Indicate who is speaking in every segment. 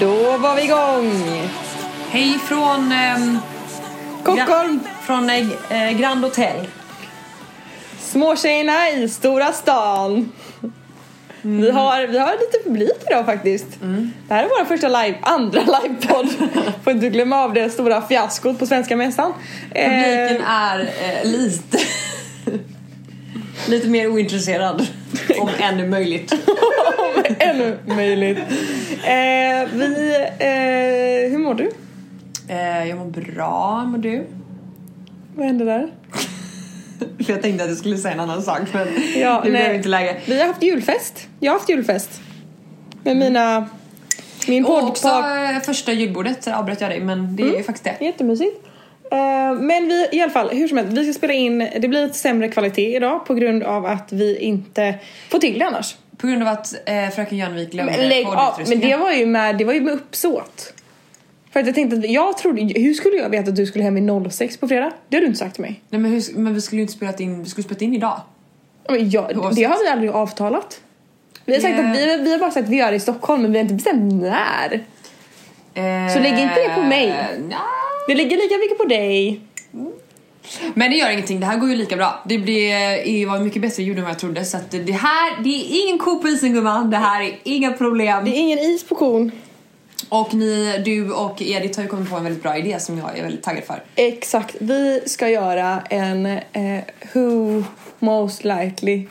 Speaker 1: Då var vi igång!
Speaker 2: Hej från... ehm,
Speaker 1: Stockholm!
Speaker 2: Gra- från eh, Grand Hotel.
Speaker 1: Småtjejerna i stora stan.
Speaker 2: Mm.
Speaker 1: Vi, har, vi har lite publik idag faktiskt. Det här är vår första live, andra livepodd. Får inte glömma av det stora fiaskot på Svenska Mässan.
Speaker 2: Publiken
Speaker 1: Eh,
Speaker 2: är eh, lite... lite mer ointresserad. Om ännu möjligt.
Speaker 1: om ännu möjligt. Eh, vi, eh, hur mår du?
Speaker 2: Eh, jag mår bra, mår du?
Speaker 1: Vad hände där?
Speaker 2: För jag tänkte att jag skulle säga en annan sak men
Speaker 1: Ja,
Speaker 2: det blev
Speaker 1: nej.
Speaker 2: inte läge.
Speaker 1: Vi har haft julfest. Jag har haft julfest. Med mina... Min
Speaker 2: Och Mm. också
Speaker 1: poddpart-
Speaker 2: eh, första julbordet så avbröt jag dig men det är ju faktiskt det.
Speaker 1: Jättemysigt. Eh, Men vi, i alla fall, hur som helst, vi ska spela in, det blir lite sämre kvalitet idag på grund av att vi inte får till det annars.
Speaker 2: På grund av att eh, fröken Jönvik glömde
Speaker 1: Men lägg av, men det
Speaker 2: poddutrustningen.
Speaker 1: var ju med, det var ju med uppsåt. För att jag tänkte att jag trodde, hur skulle jag veta att du skulle hem vid 06 på fredag? Det har du inte sagt till mig.
Speaker 2: Nej men, hur, men vi skulle ju inte spela in, vi skulle spela in idag.
Speaker 1: Men jag,
Speaker 2: Oavsett.
Speaker 1: det har vi aldrig avtalat. Vi har, sagt
Speaker 2: Nej.
Speaker 1: att vi, vi har bara sagt att vi gör det i Stockholm men vi har inte bestämt när.
Speaker 2: Så
Speaker 1: lägg inte det på mig.
Speaker 2: Eh,
Speaker 1: Det ligger lika mycket på dig.
Speaker 2: Men det gör ingenting, det här går ju lika bra. Det, blir, eh, var mycket bättre ljud än vad jag trodde så att det här, det är ingen ko på isen gumman, det här är inga problem.
Speaker 1: Det är ingen is på kon.
Speaker 2: Och ni, du och Edith har ju kommit på en väldigt bra idé som jag är väldigt taggad för.
Speaker 1: Exakt. Vi ska göra en eh, Who most likely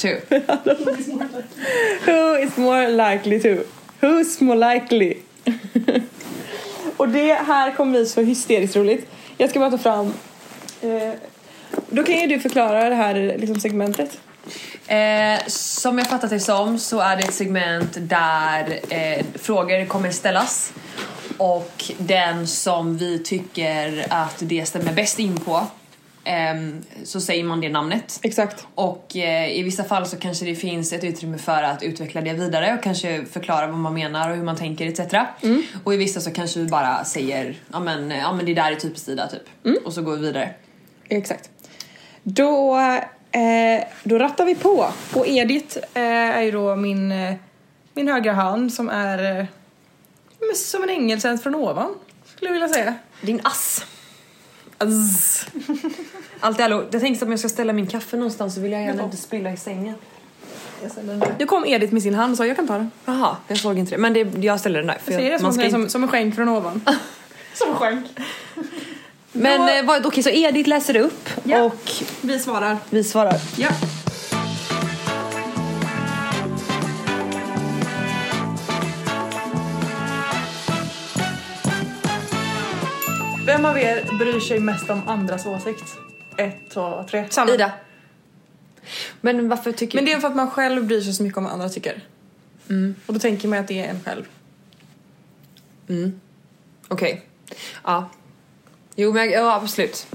Speaker 2: Tur.
Speaker 1: Who is more likely to? Who's more likely? Och det här kommer bli så hysteriskt roligt. Jag ska bara ta fram... Eh, då kan ju du förklara det här liksom, segmentet.
Speaker 2: Eh, som jag fattat det som så är det ett segment där eh, frågor kommer ställas och den som vi tycker att det stämmer bäst in på ehm, så säger man det namnet.
Speaker 1: Exakt.
Speaker 2: Och eh, i vissa fall så kanske det finns ett utrymme för att utveckla det vidare och kanske förklara vad man menar och hur man tänker etc. Och i vissa så kanske vi bara säger ja men, ja, men det där är typiskt Ida typ och så går vi vidare.
Speaker 1: Exakt. Då, eh, då rattar vi på. Och Edith eh, är ju då min, eh, min högra hand som är eh, men som en ängelsens från ovan, skulle jag vilja säga.
Speaker 2: Din ass. Ass. Allt i allo, jag tänkte att om jag ska ställa min kaffe någonstans så vill jag gärna inte spilla i sängen.
Speaker 1: Nu kom Edith med sin hand och sa jag kan ta den.
Speaker 2: Jaha, jag såg inte det. Men det, jag ställer den där. För
Speaker 1: Jag säger det
Speaker 2: jag,
Speaker 1: som,
Speaker 2: man ska
Speaker 1: som,
Speaker 2: inte...
Speaker 1: som, en skänk från ovan. som en skänk.
Speaker 2: Men
Speaker 1: Då-
Speaker 2: eh, vad- okej, så Edith läser upp
Speaker 1: Ja.
Speaker 2: och
Speaker 1: Vi svarar.
Speaker 2: vi svarar.
Speaker 1: Ja.
Speaker 3: Vem av er bryr sig mest om andras åsikt? Ett, två, tre. Samma.
Speaker 2: Ida. Men varför tycker
Speaker 3: Men det är för att man själv bryr sig så mycket om vad andra tycker. Och då tänker man att det är en själv.
Speaker 2: Okej. Ja. Jo, men ja, absolut.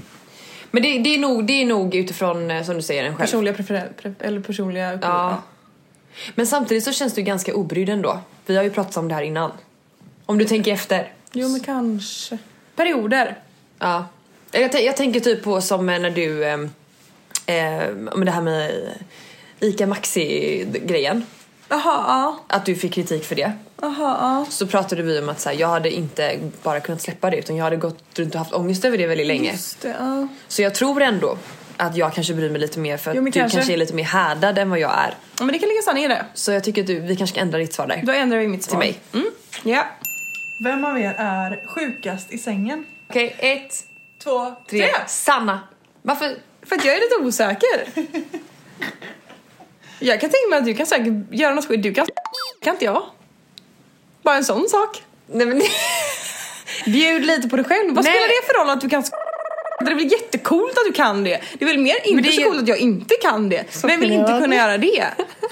Speaker 2: Men det, det, är nog, det är nog utifrån, eh, som du säger, en själv.
Speaker 3: Personliga preferenser, pre- eller personliga
Speaker 2: Ja. Men samtidigt så känns du ganska obrydd ändå. Vi har ju pratat om det här innan. Om du tänker efter.
Speaker 3: Jo men kanske. Perioder.
Speaker 2: Ja. Jag, tän- jag tänker typ på som eh, när du... Eh, eh, men det här med Ica Maxi-grejen.
Speaker 3: Jaha, ja.
Speaker 2: Att du fick kritik för det.
Speaker 3: Jaha, ja.
Speaker 2: Så pratade vi om att så här, jag hade inte bara kunnat släppa det utan jag hade gått runt och haft ångest över det väldigt länge.
Speaker 3: Just det, ja.
Speaker 2: Så jag tror ändå att jag kanske bryr mig lite mer för att
Speaker 3: Jo, men
Speaker 2: du kanske.
Speaker 3: kanske.
Speaker 2: är lite mer härdad än vad jag är.
Speaker 3: Ja, Men det kan ligga sanning i det.
Speaker 2: Så jag tycker att du, vi kanske ska ändra ditt svar där.
Speaker 3: Då ändrar vi mitt
Speaker 2: Till
Speaker 3: svar.
Speaker 2: mig.
Speaker 3: Ja.
Speaker 4: Vem av er är sjukast i sängen?
Speaker 2: Okej, ett,
Speaker 3: Två,
Speaker 2: tre. Sanna! Varför?
Speaker 3: För att jag är lite osäker. jag kan tänka mig att du kan säkert göra något skit. Du kan kan inte jag. Bara en sån sak.
Speaker 2: Nej men...
Speaker 3: Bjud lite på dig själv. Vad
Speaker 2: Nej.
Speaker 3: spelar det för roll att du kan det är väl jättecoolt att du kan det. Det är väl mer inte
Speaker 2: det är
Speaker 3: så
Speaker 2: ju-
Speaker 3: coolt att jag inte kan det. Vem vill inte kunna göra det?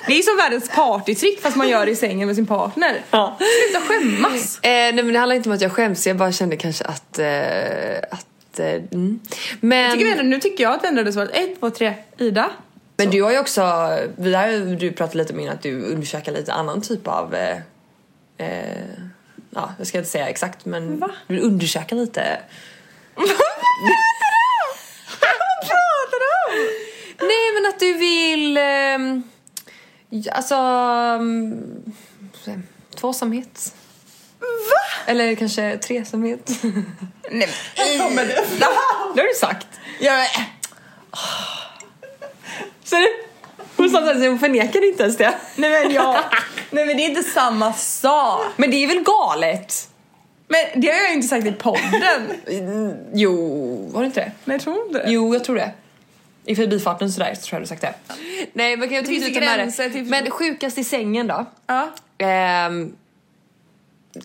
Speaker 3: Det är som världens partytrick fast man gör det i sängen med sin partner.
Speaker 2: Ja.
Speaker 3: Sluta skämmas.
Speaker 2: Eh, nej men det handlar inte om att jag skäms, jag bara kände kanske att... Eh, att eh, mm. Men,
Speaker 3: Tycker vi ändå, nu tycker jag att vi ändrade svaret. Ett, två, tre. Ida.
Speaker 2: men du har ju också, vi har ju, du pratade lite om innan att du undersöker lite annan typ av... Eh, eh, ja, jag ska inte säga exakt men
Speaker 3: Va?
Speaker 2: du vill undersöka lite.
Speaker 3: Vad pratar du om?
Speaker 2: Nej men att du vill... ehm, ja, alltså... Um, mm, tvåsamhet. Eller kanske tresamhet.
Speaker 1: Nej,
Speaker 5: Kommer det?
Speaker 2: Det har du sagt.
Speaker 1: ja, men,
Speaker 2: eh. Ser du? Hon sa att hon förnekade inte ens det.
Speaker 1: nej men jag... Nej men det är inte samma sak.
Speaker 2: Men det är väl galet?
Speaker 1: Men det har jag inte sagt i podden.
Speaker 2: Jo, var det inte det?
Speaker 1: Nej jag tror inte det.
Speaker 2: Jo, jag tror det. I förbifarten sådär så tror jag du sagt det. Nej, men kan jag
Speaker 1: finns
Speaker 2: tycka att det
Speaker 1: gränser
Speaker 2: är
Speaker 1: till-
Speaker 2: Men sjukast i sängen då?
Speaker 1: Ja.
Speaker 2: Ehm,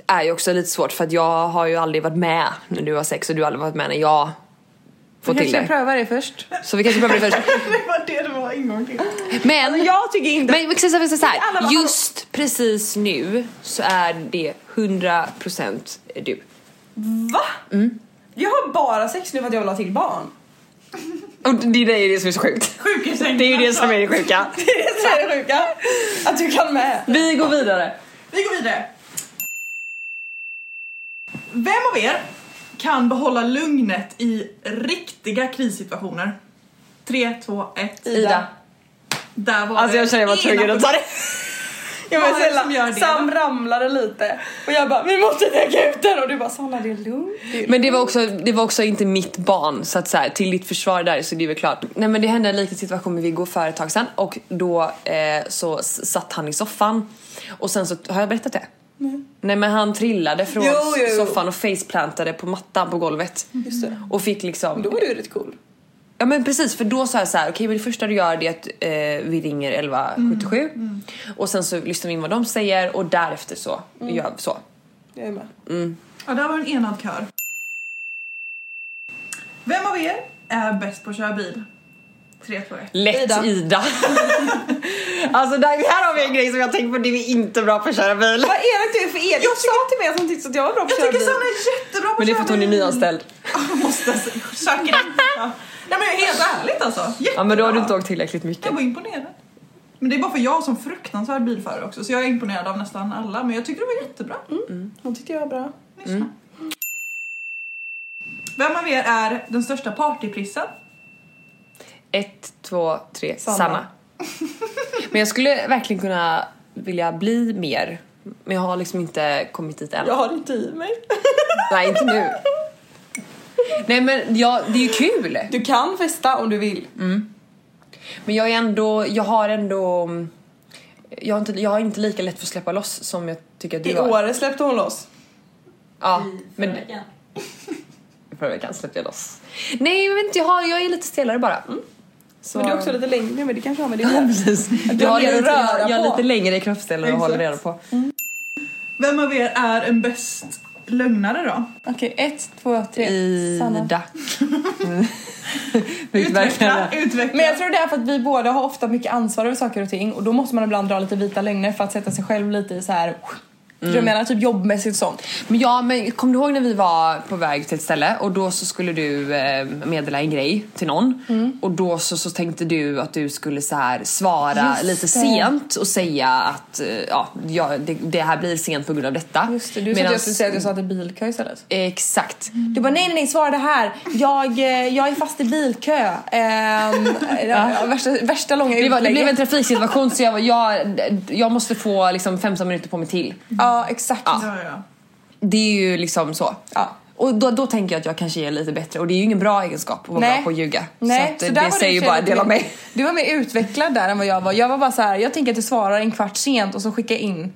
Speaker 2: är ju också lite svårt för att jag har ju aldrig varit med när du har sex och du har aldrig varit med när jag får
Speaker 1: Vi
Speaker 2: till
Speaker 1: kanske
Speaker 2: det.
Speaker 1: prövar det först.
Speaker 2: Så vi kanske behöver det först.
Speaker 5: Det var det det var ingång till.
Speaker 2: Men,
Speaker 1: Jag tycker inte...
Speaker 2: men precis, precis, precis, så
Speaker 1: Alla bara,
Speaker 2: här. just precis nu så är det 100% du.
Speaker 1: Va? Mm. Jag har bara sex nu för att jag vill ha till barn.
Speaker 2: Och det är det som är så sjukt.
Speaker 5: Sjuk i sängen
Speaker 2: Det är ju det
Speaker 5: alltså.
Speaker 2: som är det sjuka.
Speaker 1: Det är det som är det sjuka. Att du kan med.
Speaker 2: Vi går vidare.
Speaker 5: Vi går vidare. Vem av er kan behålla lugnet i riktiga krissituationer? 3, 2, 1.
Speaker 2: Ida.
Speaker 5: Där var
Speaker 2: Alltså
Speaker 5: det
Speaker 2: jag känner mig
Speaker 5: ena
Speaker 2: tvungen att ta det.
Speaker 1: Jag
Speaker 5: Vad
Speaker 1: var
Speaker 5: är det som gör
Speaker 1: sällan,
Speaker 5: det
Speaker 1: Sam ramlade lite och jag bara vi måste täcka ut den och du bara Sanna det är lugnt. Det är
Speaker 2: Men det var också, det var också inte mitt barn så att så här, till ditt försvar där så det är väl klart. Nej men det hände en liknande situation med Viggo för ett tag sedan och då eh, så s- satt han i soffan och sen så, har jag berättat det? Nej men han trillade från
Speaker 1: Mm. Jo, jo, jo. Mm.
Speaker 2: soffan och faceplantade på mattan på golvet.
Speaker 1: Just det.
Speaker 2: Och fick liksom...
Speaker 1: Då var du rätt cool.
Speaker 2: Ja men precis för då sa jag så här: okej men det första du gör det är att eh, vi ringer 1177
Speaker 1: Mm.
Speaker 2: och sen så lyssnar vi in vad de säger och därefter så
Speaker 1: Mm.
Speaker 2: gör vi så.
Speaker 1: Jag är med.
Speaker 5: Ja, där var en enad kör. Vem av er är bäst på att köra bil? 3, 2, 1.
Speaker 2: Lätt Ida.
Speaker 1: Ida.
Speaker 2: alltså där, här har vi en grej som jag tänkt på, det är inte bra på att köra bil.
Speaker 1: Vad elakt du är för elak. Jag sa till mig att hon tyckte att jag var bra på
Speaker 5: Jag
Speaker 1: att
Speaker 5: tycker
Speaker 1: köra
Speaker 5: Sanna
Speaker 1: bil.
Speaker 5: är jättebra på
Speaker 2: Men det är
Speaker 5: att
Speaker 2: för
Speaker 5: köra
Speaker 2: att hon är
Speaker 5: bil.
Speaker 2: nyanställd.
Speaker 5: Jag måste s- söka in. Ja. Nej men helt ärligt alltså. Jättebra.
Speaker 2: Ja men då har du inte åkt tillräckligt
Speaker 5: Jag
Speaker 2: mycket.
Speaker 5: var imponerad. Men det är bara för jag som fruktansvärd bilförare också så jag är imponerad av nästan alla men jag tyckte det var jättebra.
Speaker 2: Mm.
Speaker 1: Hon tyckte jag var bra.
Speaker 5: Lyssna. Vem av er är den största partyprissen?
Speaker 2: Ett, två, tre,
Speaker 1: Sanna.
Speaker 2: Sanna. men jag skulle verkligen kunna vilja bli mer. Men jag har liksom inte kommit dit än.
Speaker 1: Jag har det inte i mig.
Speaker 2: Nej inte nu. Nej men ja, det är ju kul.
Speaker 1: Du kan festa om du vill.
Speaker 2: Men jag är ändå, jag har ändå jag har, inte, jag har inte lika lätt för att släppa loss som jag tycker att du
Speaker 1: I
Speaker 2: har.
Speaker 1: Åre släppte hon loss.
Speaker 2: Ja, men förra veckan släppte jag loss. Nej, men inte, jag, har, jag är lite stelare bara. Så.
Speaker 1: Mm. Men du är också lite längre men det kanske har med det att göra.
Speaker 2: Precis.
Speaker 1: du
Speaker 2: Jag,
Speaker 1: har
Speaker 2: har
Speaker 1: mer att
Speaker 2: lite,
Speaker 1: röra
Speaker 2: jag, jag
Speaker 1: på.
Speaker 2: har lite längre kroppsdelar att
Speaker 5: Exakt.
Speaker 2: hålla reda på.
Speaker 5: Vem av er är en bäst lögnare då?
Speaker 1: Okej, ett, två, tre. Sanna.
Speaker 2: Ida. Mm. Vilket verkligen-
Speaker 5: Utveckla, utveckla.
Speaker 1: Men jag tror det är för att vi båda har ofta mycket ansvar över saker och ting och då måste man ibland dra lite vita lögner för att sätta sig själv lite i så här. Tror du vad jag menar? Typ jobbmässigt och sånt.
Speaker 2: Men ja, men kom du ihåg när vi var på väg till ett ställe och då så skulle du eh, meddela en grej till någon
Speaker 1: Mm.
Speaker 2: och då så, så tänkte du att du skulle så här svara
Speaker 1: Just
Speaker 2: lite
Speaker 1: det.
Speaker 2: sent och säga att eh, ja, ja, det, det här blir sent på grund av detta.
Speaker 1: Just det, du sa att
Speaker 2: Medans-
Speaker 1: jag skulle säga att jag satt i bilkö istället.
Speaker 2: Exakt.
Speaker 1: Du bara nej nej nej svara det här. Jag, eh, jag är fast i bilkö. Ehm, ja, värsta, värsta långa
Speaker 2: Det, var, det blev en
Speaker 1: utlägget.
Speaker 2: trafiksituation så jag, var, jag, jag måste få liksom 15 minuter på mig till.
Speaker 1: Ja exakt. Ja.
Speaker 5: Ja, ja.
Speaker 2: Det är ju liksom så. Och då, då tänker jag att jag kanske är lite bättre och det är ju ingen bra egenskap att vara
Speaker 1: Nej.
Speaker 2: bra på att ljuga.
Speaker 1: Nej,
Speaker 2: så att, eh,
Speaker 1: där
Speaker 2: det
Speaker 1: var du
Speaker 2: säger ju
Speaker 1: i och för sig
Speaker 2: bara en
Speaker 1: lite
Speaker 2: del av
Speaker 1: mer-
Speaker 2: mig.
Speaker 1: Du var mer utvecklad där än vad jag var. Jag var bara så här, jag tänker att du svarar en kvart sent och så skickar jag in.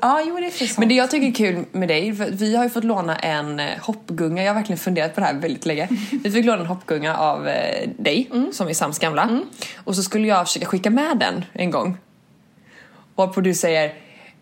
Speaker 1: Ja jo det är för
Speaker 2: Men
Speaker 1: Men
Speaker 2: det jag tycker är kul med dig, för att vi har ju fått låna en eh, hoppgunga, jag har verkligen funderat på det här väldigt länge. Vi fick låna en hoppgunga av eh, dig,
Speaker 1: Mm.
Speaker 2: som är Sams gamla. Och så skulle jag försöka skicka med den en gång. Varpå du säger,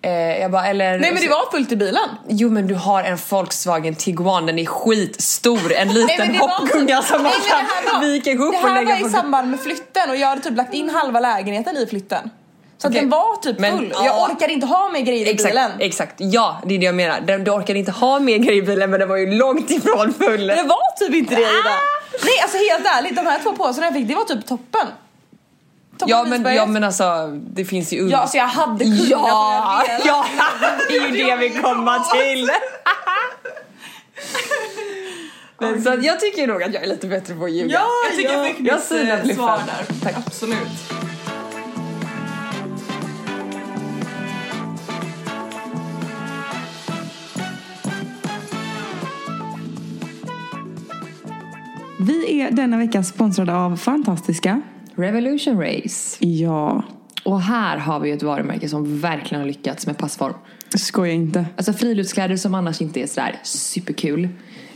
Speaker 2: eh, jag bara eller...
Speaker 1: Nej men det var fullt i bilen.
Speaker 2: Jo men du har en Volkswagen Tiguan, den är skitstor, en liten
Speaker 1: men det var-
Speaker 2: hoppgunga som
Speaker 1: Nej,
Speaker 2: man
Speaker 1: men det här
Speaker 2: kan
Speaker 1: var-
Speaker 2: vika ihop
Speaker 1: Det
Speaker 2: och
Speaker 1: här
Speaker 2: lägga
Speaker 1: var
Speaker 2: på
Speaker 1: i samband med flytten och jag hade typ lagt in halva lägenheten i flytten. Så
Speaker 2: Okej.
Speaker 1: att den var typ
Speaker 2: Men,
Speaker 1: full.
Speaker 2: ja.
Speaker 1: Jag orkade inte ha med grejer i
Speaker 2: Exakt,
Speaker 1: bilen.
Speaker 2: exakt, ja det är det jag menar. Den- Du orkade inte ha mer grejer i bilen men den var ju långt ifrån full.
Speaker 1: Det var typ inte det Ida. Nej alltså helt ärligt, de här två påsarna jag fick det var typ toppen. toppen
Speaker 2: Ja
Speaker 1: av
Speaker 2: men,
Speaker 1: isberget.
Speaker 2: ja men alltså det finns ju under...
Speaker 1: Ja, alltså jag hade kunnat om
Speaker 2: ja,
Speaker 1: jag hade velat.
Speaker 2: ja, det är ju det vi kommer till! men, så att jag tycker nog att jag är lite bättre på att ljuga.
Speaker 5: Ja, jag tycker jag fick
Speaker 2: Jag
Speaker 5: mitt
Speaker 2: synar
Speaker 5: eh, svar
Speaker 2: bliffen.
Speaker 5: där.
Speaker 2: Tack.
Speaker 5: Absolut.
Speaker 1: Vi är denna veckan sponsrade av Fantastiska.
Speaker 6: Revolution Race.
Speaker 1: Ja,
Speaker 6: Och här har vi ju ett varumärke som verkligen har lyckats med passform.
Speaker 1: skoja inte.
Speaker 6: Alltså friluftskläder som annars inte är sådär superkul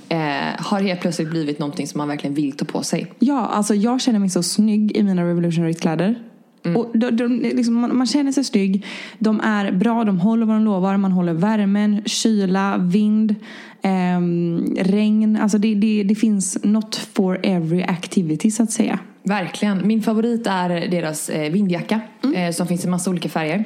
Speaker 6: eh, har helt plötsligt blivit någonting som man verkligen vill ta på sig.
Speaker 1: Ja, alltså jag känner mig så snygg i mina Revolutionary-kläder. Och de, de, liksom, man, man känner sig snygg, de är bra, de håller vad de lovar, man håller värmen, kyla, vind, ehm, regn. Alltså det, det, det finns not for every activity så att säga.
Speaker 6: Verkligen. Min favorit är deras eh, vindjacka eh, som finns i massa olika färger.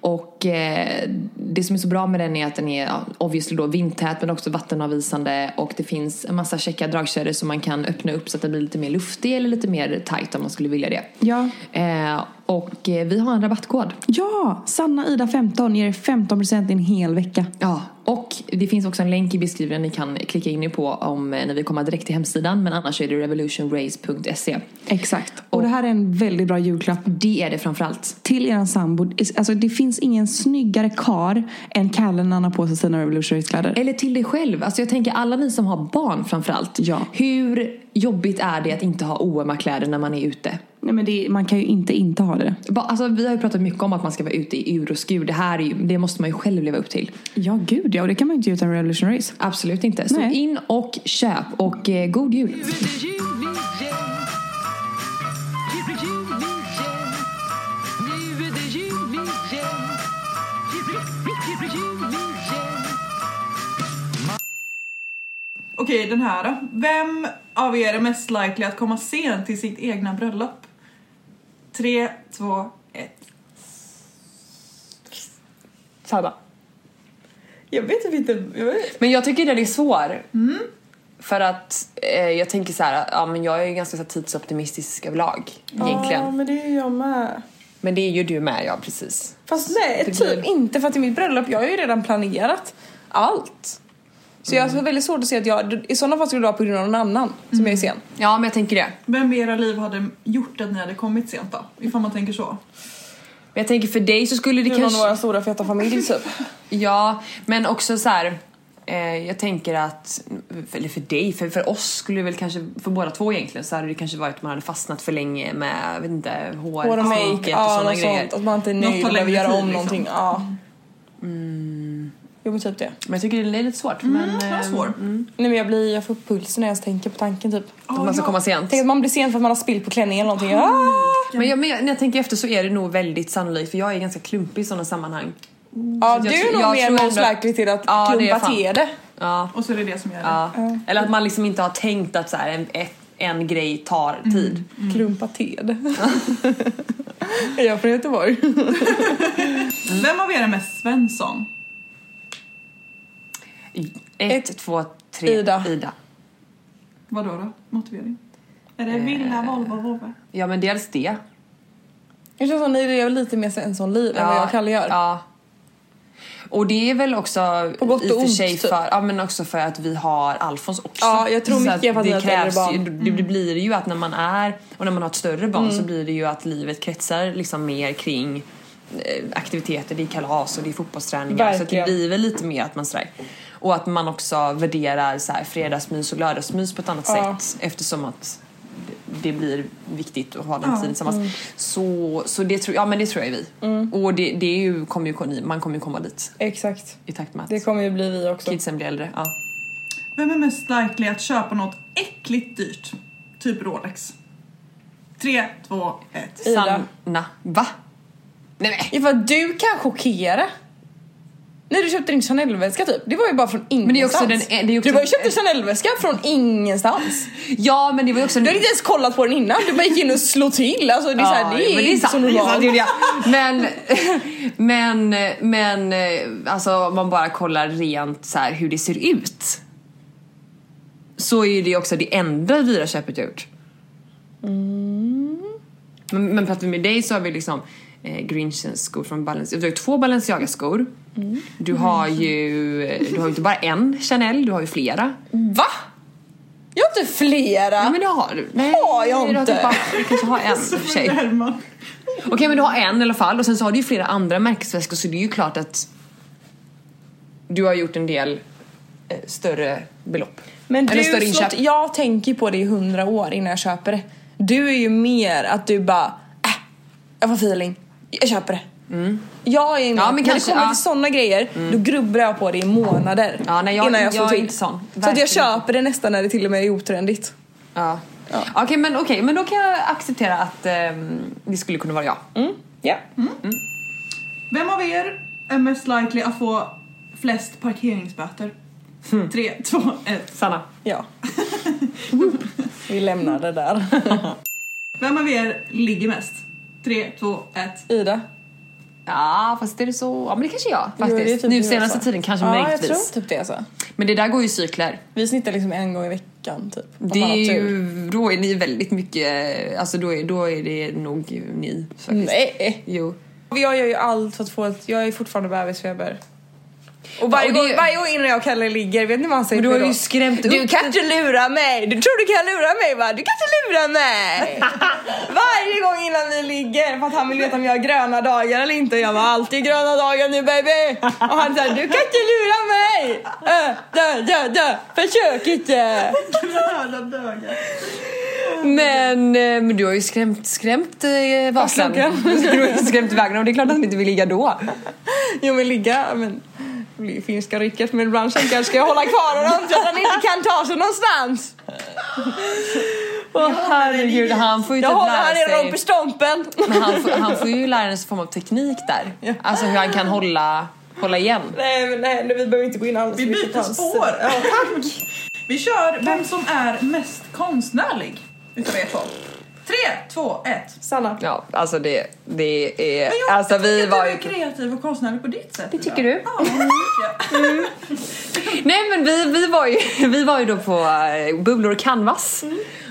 Speaker 6: Och eh, det som är så bra med den är att den är ja, obviously då vindtät men också vattenavvisande och det finns en massa käcka dragkedjor som man kan öppna upp så att den blir lite mer luftig eller lite mer tight om man skulle vilja det.
Speaker 1: Ja.
Speaker 6: Eh, och eh, vi har en rabattkod.
Speaker 1: Ja, Sanna Ida 15 ger er 15% i en hel vecka.
Speaker 6: Ja, och det finns också en länk i beskrivningen ni kan klicka in er på om eh, när vi kommer direkt till hemsidan men annars är det revolutionrace.se.
Speaker 1: Exakt. Och det här är en väldigt bra julklapp.
Speaker 6: Det är det framförallt.
Speaker 1: Till eran sambo. Alltså det finns ingen snyggare kar än Kalle när han har på sig sina Revolutionary-kläder.
Speaker 6: Eller till dig själv. Alltså jag tänker alla ni som har barn framförallt.
Speaker 1: Ja.
Speaker 6: Hur jobbigt är det att inte ha oömma kläder när man är ute?
Speaker 1: Nej men det, man kan ju inte inte ha det.
Speaker 6: Ba- Alltså, vi har ju pratat mycket om att man ska vara ute i ur och skur. Det här är ju, det måste man ju själv leva upp till.
Speaker 1: Ja gud ja, och det kan man ju inte göra utan Revolution Race.
Speaker 6: Absolut inte. Så
Speaker 1: Nej.
Speaker 6: in och köp och eh, god jul.
Speaker 5: Okej, den här då. Vem av er är mest likely att komma sent till sitt egna bröllop? Tre, två, ett.
Speaker 2: Sanna.
Speaker 5: Jag vet typ inte. Jag vet.
Speaker 2: Men jag tycker den är svår. För att eh, jag tänker så här, ja, men jag är ju ganska så här, tidsoptimistisk överlag egentligen.
Speaker 1: men det är jag med.
Speaker 2: Men det är ju du med, ja precis.
Speaker 1: Fast nej, typ inte för att i mitt bröllop, jag har ju redan planerat allt. Så jag
Speaker 6: Mm.
Speaker 1: har väldigt svårt att se att jag, i sådana fall skulle det vara på grund av någon annan som jag är
Speaker 6: Mm.
Speaker 1: sen.
Speaker 2: Ja men jag tänker det.
Speaker 5: Vem i era liv hade gjort att ni hade kommit sent då? Ifall man tänker så.
Speaker 2: Men jag tänker för dig så skulle det
Speaker 1: Det kanske...
Speaker 2: kanske...
Speaker 1: Någon av våra stora feta familj typ.
Speaker 2: Ja, men också så här. Eh, jag tänker att, eller för dig, för, för oss skulle det väl kanske, för båda två egentligen, så hade det kanske varit att man hade fastnat för länge med, jag vet inte, hår,
Speaker 1: Hår och
Speaker 2: sminket
Speaker 1: make,
Speaker 2: och
Speaker 1: ja,
Speaker 2: sådana
Speaker 1: något
Speaker 2: grejer.
Speaker 1: sånt. Att man inte är
Speaker 5: Något
Speaker 1: nöjd
Speaker 5: tar
Speaker 1: och behöver
Speaker 5: längre
Speaker 1: göra om
Speaker 5: tid, liksom.
Speaker 1: någonting. Ja.
Speaker 2: Mm.
Speaker 1: Jo men typ det.
Speaker 2: Men jag tycker det är lite svårt.
Speaker 5: Mm,
Speaker 2: men,
Speaker 5: det var
Speaker 2: eh,
Speaker 5: svår.
Speaker 1: Nej men jag, blir, jag får upp pulsen när jag ens tänker på tanken typ.
Speaker 5: Ja,
Speaker 6: Att man ska
Speaker 5: ja.
Speaker 6: komma sent.
Speaker 1: Tänk att man blir sen för att man har spillt på klänningen eller någonting. Ah!
Speaker 2: Men, jag, men jag, när jag tänker efter så är det nog väldigt sannolikt för jag är ganska klumpig i sådana sammanhang.
Speaker 1: Ja,
Speaker 2: Så
Speaker 1: du
Speaker 2: jag
Speaker 1: är
Speaker 2: tror-
Speaker 1: nog
Speaker 2: jag
Speaker 1: mer
Speaker 2: tror
Speaker 1: most
Speaker 2: ändå-
Speaker 1: likely till att
Speaker 2: Ja, det är
Speaker 1: klumpa
Speaker 2: fan.
Speaker 1: till det.
Speaker 2: Ja.
Speaker 5: Och så är det det som gör det.
Speaker 2: Ja. Eller att man liksom inte har tänkt att så här, en, ett, en grej tar tid.
Speaker 1: Klumpa till det. är jag från Göteborg?
Speaker 5: Vem av er är mest Svensson?
Speaker 2: Ett, två, tre,
Speaker 1: Ida.
Speaker 5: Vadå då? Motivering? Är det villa, Volvo, Volvo?
Speaker 2: Ja men dels det.
Speaker 1: Jag känner som ni lever lite mer Svensson-liv än vad jag och Kalle gör.
Speaker 2: Ja. Och det är väl också
Speaker 1: På gott och
Speaker 2: i och för
Speaker 1: ont,
Speaker 2: sig
Speaker 1: typ.
Speaker 2: för, ja, men också för att vi har Alfons också.
Speaker 1: Ja, jag tror
Speaker 2: Så
Speaker 1: mycket
Speaker 2: att
Speaker 1: för att vi har
Speaker 2: det
Speaker 1: ett äldre
Speaker 2: krävs
Speaker 1: barn. Mm.
Speaker 2: ju, det, det blir ju att när man är och när man har ett större barn så blir det ju att livet kretsar liksom mer kring eh, aktiviteter, det är kalas och det är fotbollsträningar så
Speaker 1: Verkligen.
Speaker 2: att det blir väl lite mer att man sådär och att man också värderar så här, fredagsmys och lördagsmys på ett annat
Speaker 1: Ja.
Speaker 2: sätt eftersom att det blir viktigt att ha den
Speaker 5: Ja.
Speaker 2: tiden tillsammans.
Speaker 1: mm.
Speaker 2: Så, så det, tror, ja, men det tror jag är vi. Och det, det är ju, kommer ju, man kommer ju komma dit
Speaker 1: Exakt.
Speaker 2: i takt med att
Speaker 1: Det kommer ju bli vi också.
Speaker 2: kidsen blir äldre. Ja.
Speaker 5: Vem är mest likely att köpa något äckligt dyrt? Typ Rolex. Tre, två, ett.
Speaker 1: Ida.
Speaker 2: Sanna. Va? Nej, men.
Speaker 1: Ifall du kan chockera. När du köpte din Chanel-väska typ. Det var ju bara från ingenstans.
Speaker 2: det är också den- det är också-
Speaker 1: Du bara köpte en Chanel-väska från ingenstans.
Speaker 2: Ja men det var ju också...
Speaker 1: Du hade inte ens kollat på den innan. Du bara gick in och slog till. Alltså det är, så här, det är,
Speaker 2: men
Speaker 1: inte så
Speaker 2: sant, det är sant,
Speaker 1: normalt.
Speaker 2: Julia. Men, men, men eh, alltså om man bara kollar rent så här hur det ser ut. Så är ju det också det enda dyra köpet jag gjort.
Speaker 1: Mm.
Speaker 2: Men, men pratar vi med dig så har vi liksom eh, Grinchens skor från Balenciaga. Du har ju två Balenciaga skor.
Speaker 1: Mm.
Speaker 2: Du har ju eh, du har ju inte bara en Chanel, du har ju flera.
Speaker 1: Va? Jag har inte flera.
Speaker 2: Ja men det har du. Nej,
Speaker 1: Har jag
Speaker 2: du har
Speaker 1: inte.
Speaker 2: typ bara- Du kanske har en i och för sig.
Speaker 5: Hellman.
Speaker 2: Okej men du har en i alla fall och sen så har du ju flera andra märkesväskor så det är ju klart att du har gjort en del eh, större belopp.
Speaker 6: Men
Speaker 2: Eller
Speaker 6: du,
Speaker 2: större inköp.
Speaker 6: Slott, jag tänker på det i hundra år innan jag köper det. Du är ju mer att du bara, äh, jag får feeling, jag köper det. Jag är mer,
Speaker 2: Mm. Ja, men
Speaker 6: när
Speaker 2: kanske,
Speaker 6: det kommer
Speaker 2: ja. Mm.
Speaker 6: till sådana grejer, då grubblar jag på det i månader
Speaker 2: Ja, nej, jag-
Speaker 6: innan jag får
Speaker 2: jag är
Speaker 6: till.
Speaker 2: inte sån.
Speaker 6: Så att jag
Speaker 2: Verkligen
Speaker 6: köper det nästan när det till och med är otrendigt.
Speaker 2: Ja. Okej, men, okej, men då kan jag acceptera att ehm, det skulle kunna vara jag.
Speaker 6: Mm. Ja.
Speaker 5: Vem av er är mest likely att få flest parkeringsböter?
Speaker 2: Hmm.
Speaker 5: Tre, två, ett.
Speaker 2: Sanna.
Speaker 6: ja. Vi lämnar det där.
Speaker 5: Vem av er ligger mest? Tre, två, ett.
Speaker 6: Ida?
Speaker 2: Ja, fast är det så? Ja, men det kanske är jag faktiskt.
Speaker 6: Jo, det är typ
Speaker 2: nu
Speaker 6: du
Speaker 2: senaste
Speaker 6: alltså.
Speaker 2: tiden kanske
Speaker 6: Ja, jag
Speaker 2: möjligtvis.
Speaker 6: tror typ det alltså.
Speaker 2: Men det där går ju i cykler.
Speaker 6: Vi snittar liksom en gång i veckan typ. om
Speaker 2: Det
Speaker 6: man har
Speaker 2: är
Speaker 6: tur.
Speaker 2: ju, då är ni väldigt mycket, alltså då är, då är det nog ni faktiskt.
Speaker 6: Nej!
Speaker 2: Jo.
Speaker 6: Jag gör ju allt för att få ett, jag är fortfarande bebisfeber. Och varje,
Speaker 2: Ja, och det-
Speaker 6: gång, varje gång innan jag och Kalle ligger, vet ni vad han säger
Speaker 2: Men du
Speaker 6: till
Speaker 2: har
Speaker 6: mig
Speaker 2: ju
Speaker 6: då?
Speaker 2: skrämt
Speaker 6: Du
Speaker 2: upp
Speaker 6: kan inte lura mig! Du tror du kan lura mig va? Du kan inte lura mig! varje gång innan vi ligger för att han vill veta om jag har gröna dagar eller inte. Jag var alltid gröna dagar nu baby! Och han säger du kan inte lura mig! Äh, dö, dö, dö! Försök inte!
Speaker 5: Gröna bögar.
Speaker 2: Men, eh, men du har ju skrämt, skrämt eh, Vasan.
Speaker 6: Klokan.
Speaker 2: du har ju skrämt Wagner och det är klart att han inte vill ligga då.
Speaker 6: Jo men ligga, men det blir ju finska rycket men ibland tänker jag ska jag hålla kvar honom så att han inte kan ta sig någonstans?
Speaker 2: Åh herregud, han får ju
Speaker 6: Jag
Speaker 2: typ
Speaker 6: håller han
Speaker 2: lära
Speaker 6: i
Speaker 2: sig.
Speaker 6: rumpestompen!
Speaker 2: Men han, får, han får ju lära sig en form av teknik där. Alltså hur han kan hålla, hålla igen.
Speaker 6: Nej men nej, vi behöver inte gå in alls
Speaker 5: Vi byter spår. tack. Vi kör vem som är mest konstnärlig utav er två. Tre, två, ett.
Speaker 6: Sanna.
Speaker 2: Ja, alltså det, det är...
Speaker 5: Men jag
Speaker 2: Alltså vi
Speaker 5: tycker att
Speaker 2: var ju...
Speaker 5: du är kreativ och konstnärlig på ditt sätt. Det
Speaker 2: tycker du?
Speaker 5: Ja, det tycker jag.
Speaker 2: Nej men vi, vi, var ju, vi var ju då på eh, bubblor och canvas.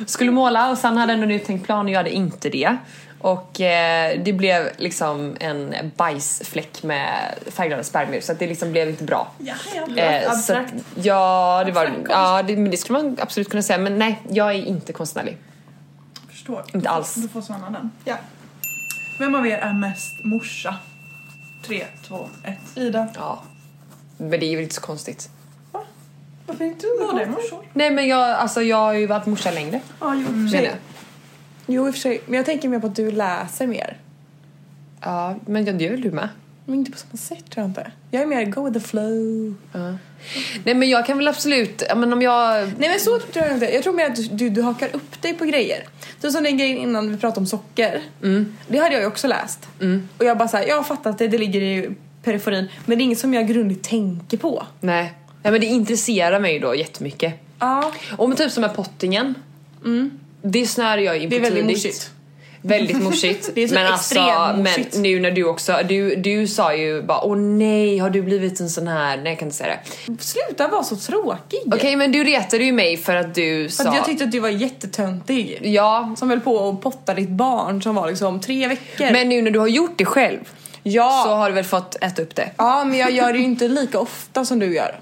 Speaker 2: Skulle måla och Sanna hade ändå en uttänkt plan och jag hade inte det. Och eh, det blev liksom en bajsfläck med färgglada spermier så att det liksom blev inte bra.
Speaker 5: Ja, ja.
Speaker 2: Eh, så,
Speaker 6: abstrakt.
Speaker 2: ja, det var,
Speaker 5: Abstrakt konst.
Speaker 2: ja det, men det skulle man absolut kunna säga men nej, jag är inte konstnärlig.
Speaker 5: Förstår.
Speaker 2: Inte alls.
Speaker 5: Du får Sanna den.
Speaker 6: Ja.
Speaker 5: Vem av er är mest morsa? Tre, två, ett.
Speaker 6: Ida.
Speaker 2: Ja. Men det är ju inte så konstigt.
Speaker 6: Varför inte du
Speaker 5: Båda är morsor.
Speaker 2: Nej men jag, alltså, jag har ju varit morsa längre
Speaker 5: Ja, jo.
Speaker 2: menar jag.
Speaker 6: Jo i och för sig, men jag tänker mer på att du läser mer.
Speaker 2: Ja, men jag- det gör väl du med?
Speaker 6: Men inte på samma sätt tror jag inte. Jag är mer go with the flow.
Speaker 2: Ja. Nej men jag kan väl absolut, ja, men om jag...
Speaker 6: Nej men så tror jag inte. Jag tror mer att du, du, du hakar upp dig på grejer. Så som den grejen innan vi pratade om socker. Det hade jag ju också läst. Och jag bara såhär, jag har fattat det, det ligger i periferin. Men det är inget som jag grundligt tänker på.
Speaker 2: Nej. Nej men det intresserar mig då jättemycket.
Speaker 6: Ja.
Speaker 2: Om typ som är pottingen. Det snör jag in på
Speaker 6: Mm. Det är väldigt
Speaker 2: tidigt.
Speaker 6: morsigt.
Speaker 2: Väldigt morsigt. alltså,
Speaker 6: Det är typ extremt morsigt.
Speaker 2: Men nu när du också, du, du sa ju bara åh nej har du blivit en sån här, nej jag kan inte säga det.
Speaker 6: Sluta vara så tråkig.
Speaker 2: Okej men du retade ju mig för att du
Speaker 6: För
Speaker 2: sa...
Speaker 6: att jag tyckte att du var jättetöntig.
Speaker 2: ja.
Speaker 6: Som höll på och potta ditt barn som var liksom tre veckor.
Speaker 2: Men nu när du har gjort det själv
Speaker 6: ja.
Speaker 2: så har du väl fått äta upp det?
Speaker 6: ja, men jag gör det ju inte lika ofta som du gör.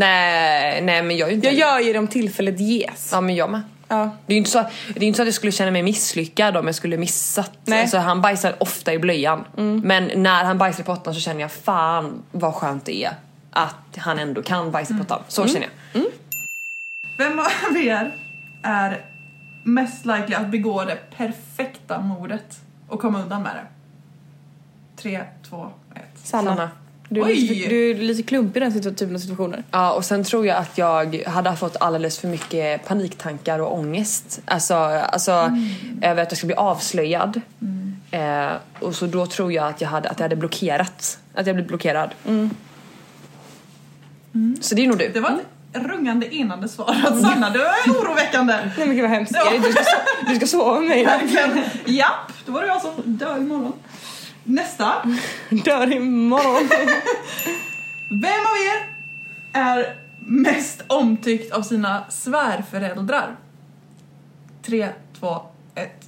Speaker 2: Nej, nej men jag är ju inte
Speaker 6: Jag gör ju det om tillfället ges.
Speaker 2: Ja men jag med.
Speaker 6: Ja.
Speaker 2: Det är ju inte så, att- det är inte så att jag skulle känna mig misslyckad om jag skulle missat.
Speaker 6: Nej. Mm.
Speaker 2: Alltså, han bajsar ofta i blöjan. Men när han bajsar i pottan så känner jag fan vad skönt det är att han ändå kan bajsa i
Speaker 6: Mm.
Speaker 2: pottan. Så känner jag.
Speaker 5: Vem av er är mest likely att begå det perfekta mordet och komma undan med det? Tre, två, ett.
Speaker 6: Sanna.
Speaker 2: Sanna.
Speaker 6: Du, är
Speaker 5: Oj!
Speaker 6: lite, du är lite klumpig i den situ- typen av situationer.
Speaker 2: Ja, och sen tror jag att jag hade fått alldeles för mycket paniktankar och ångest. Alltså, alltså
Speaker 6: Mm.
Speaker 2: över att jag skulle bli avslöjad. Eh, och så då tror jag att jag hade, att jag hade blockerat. Att jag blev blockerad.
Speaker 6: Mm.
Speaker 2: Så det är nog du.
Speaker 5: Det var ett
Speaker 2: Mm.
Speaker 5: rungande enande svar att Sanna, du är oroväckande!
Speaker 6: Nej men gud vad hemskt.
Speaker 5: Ja.
Speaker 6: Erik, Du, ska, so- du ska sova med mig.
Speaker 5: Verkligen. Japp, då var det jag som dör imorgon. Nästa.
Speaker 6: Dör imorgon.
Speaker 5: Vem av er är mest omtyckt av sina svärföräldrar? Tre, två, ett.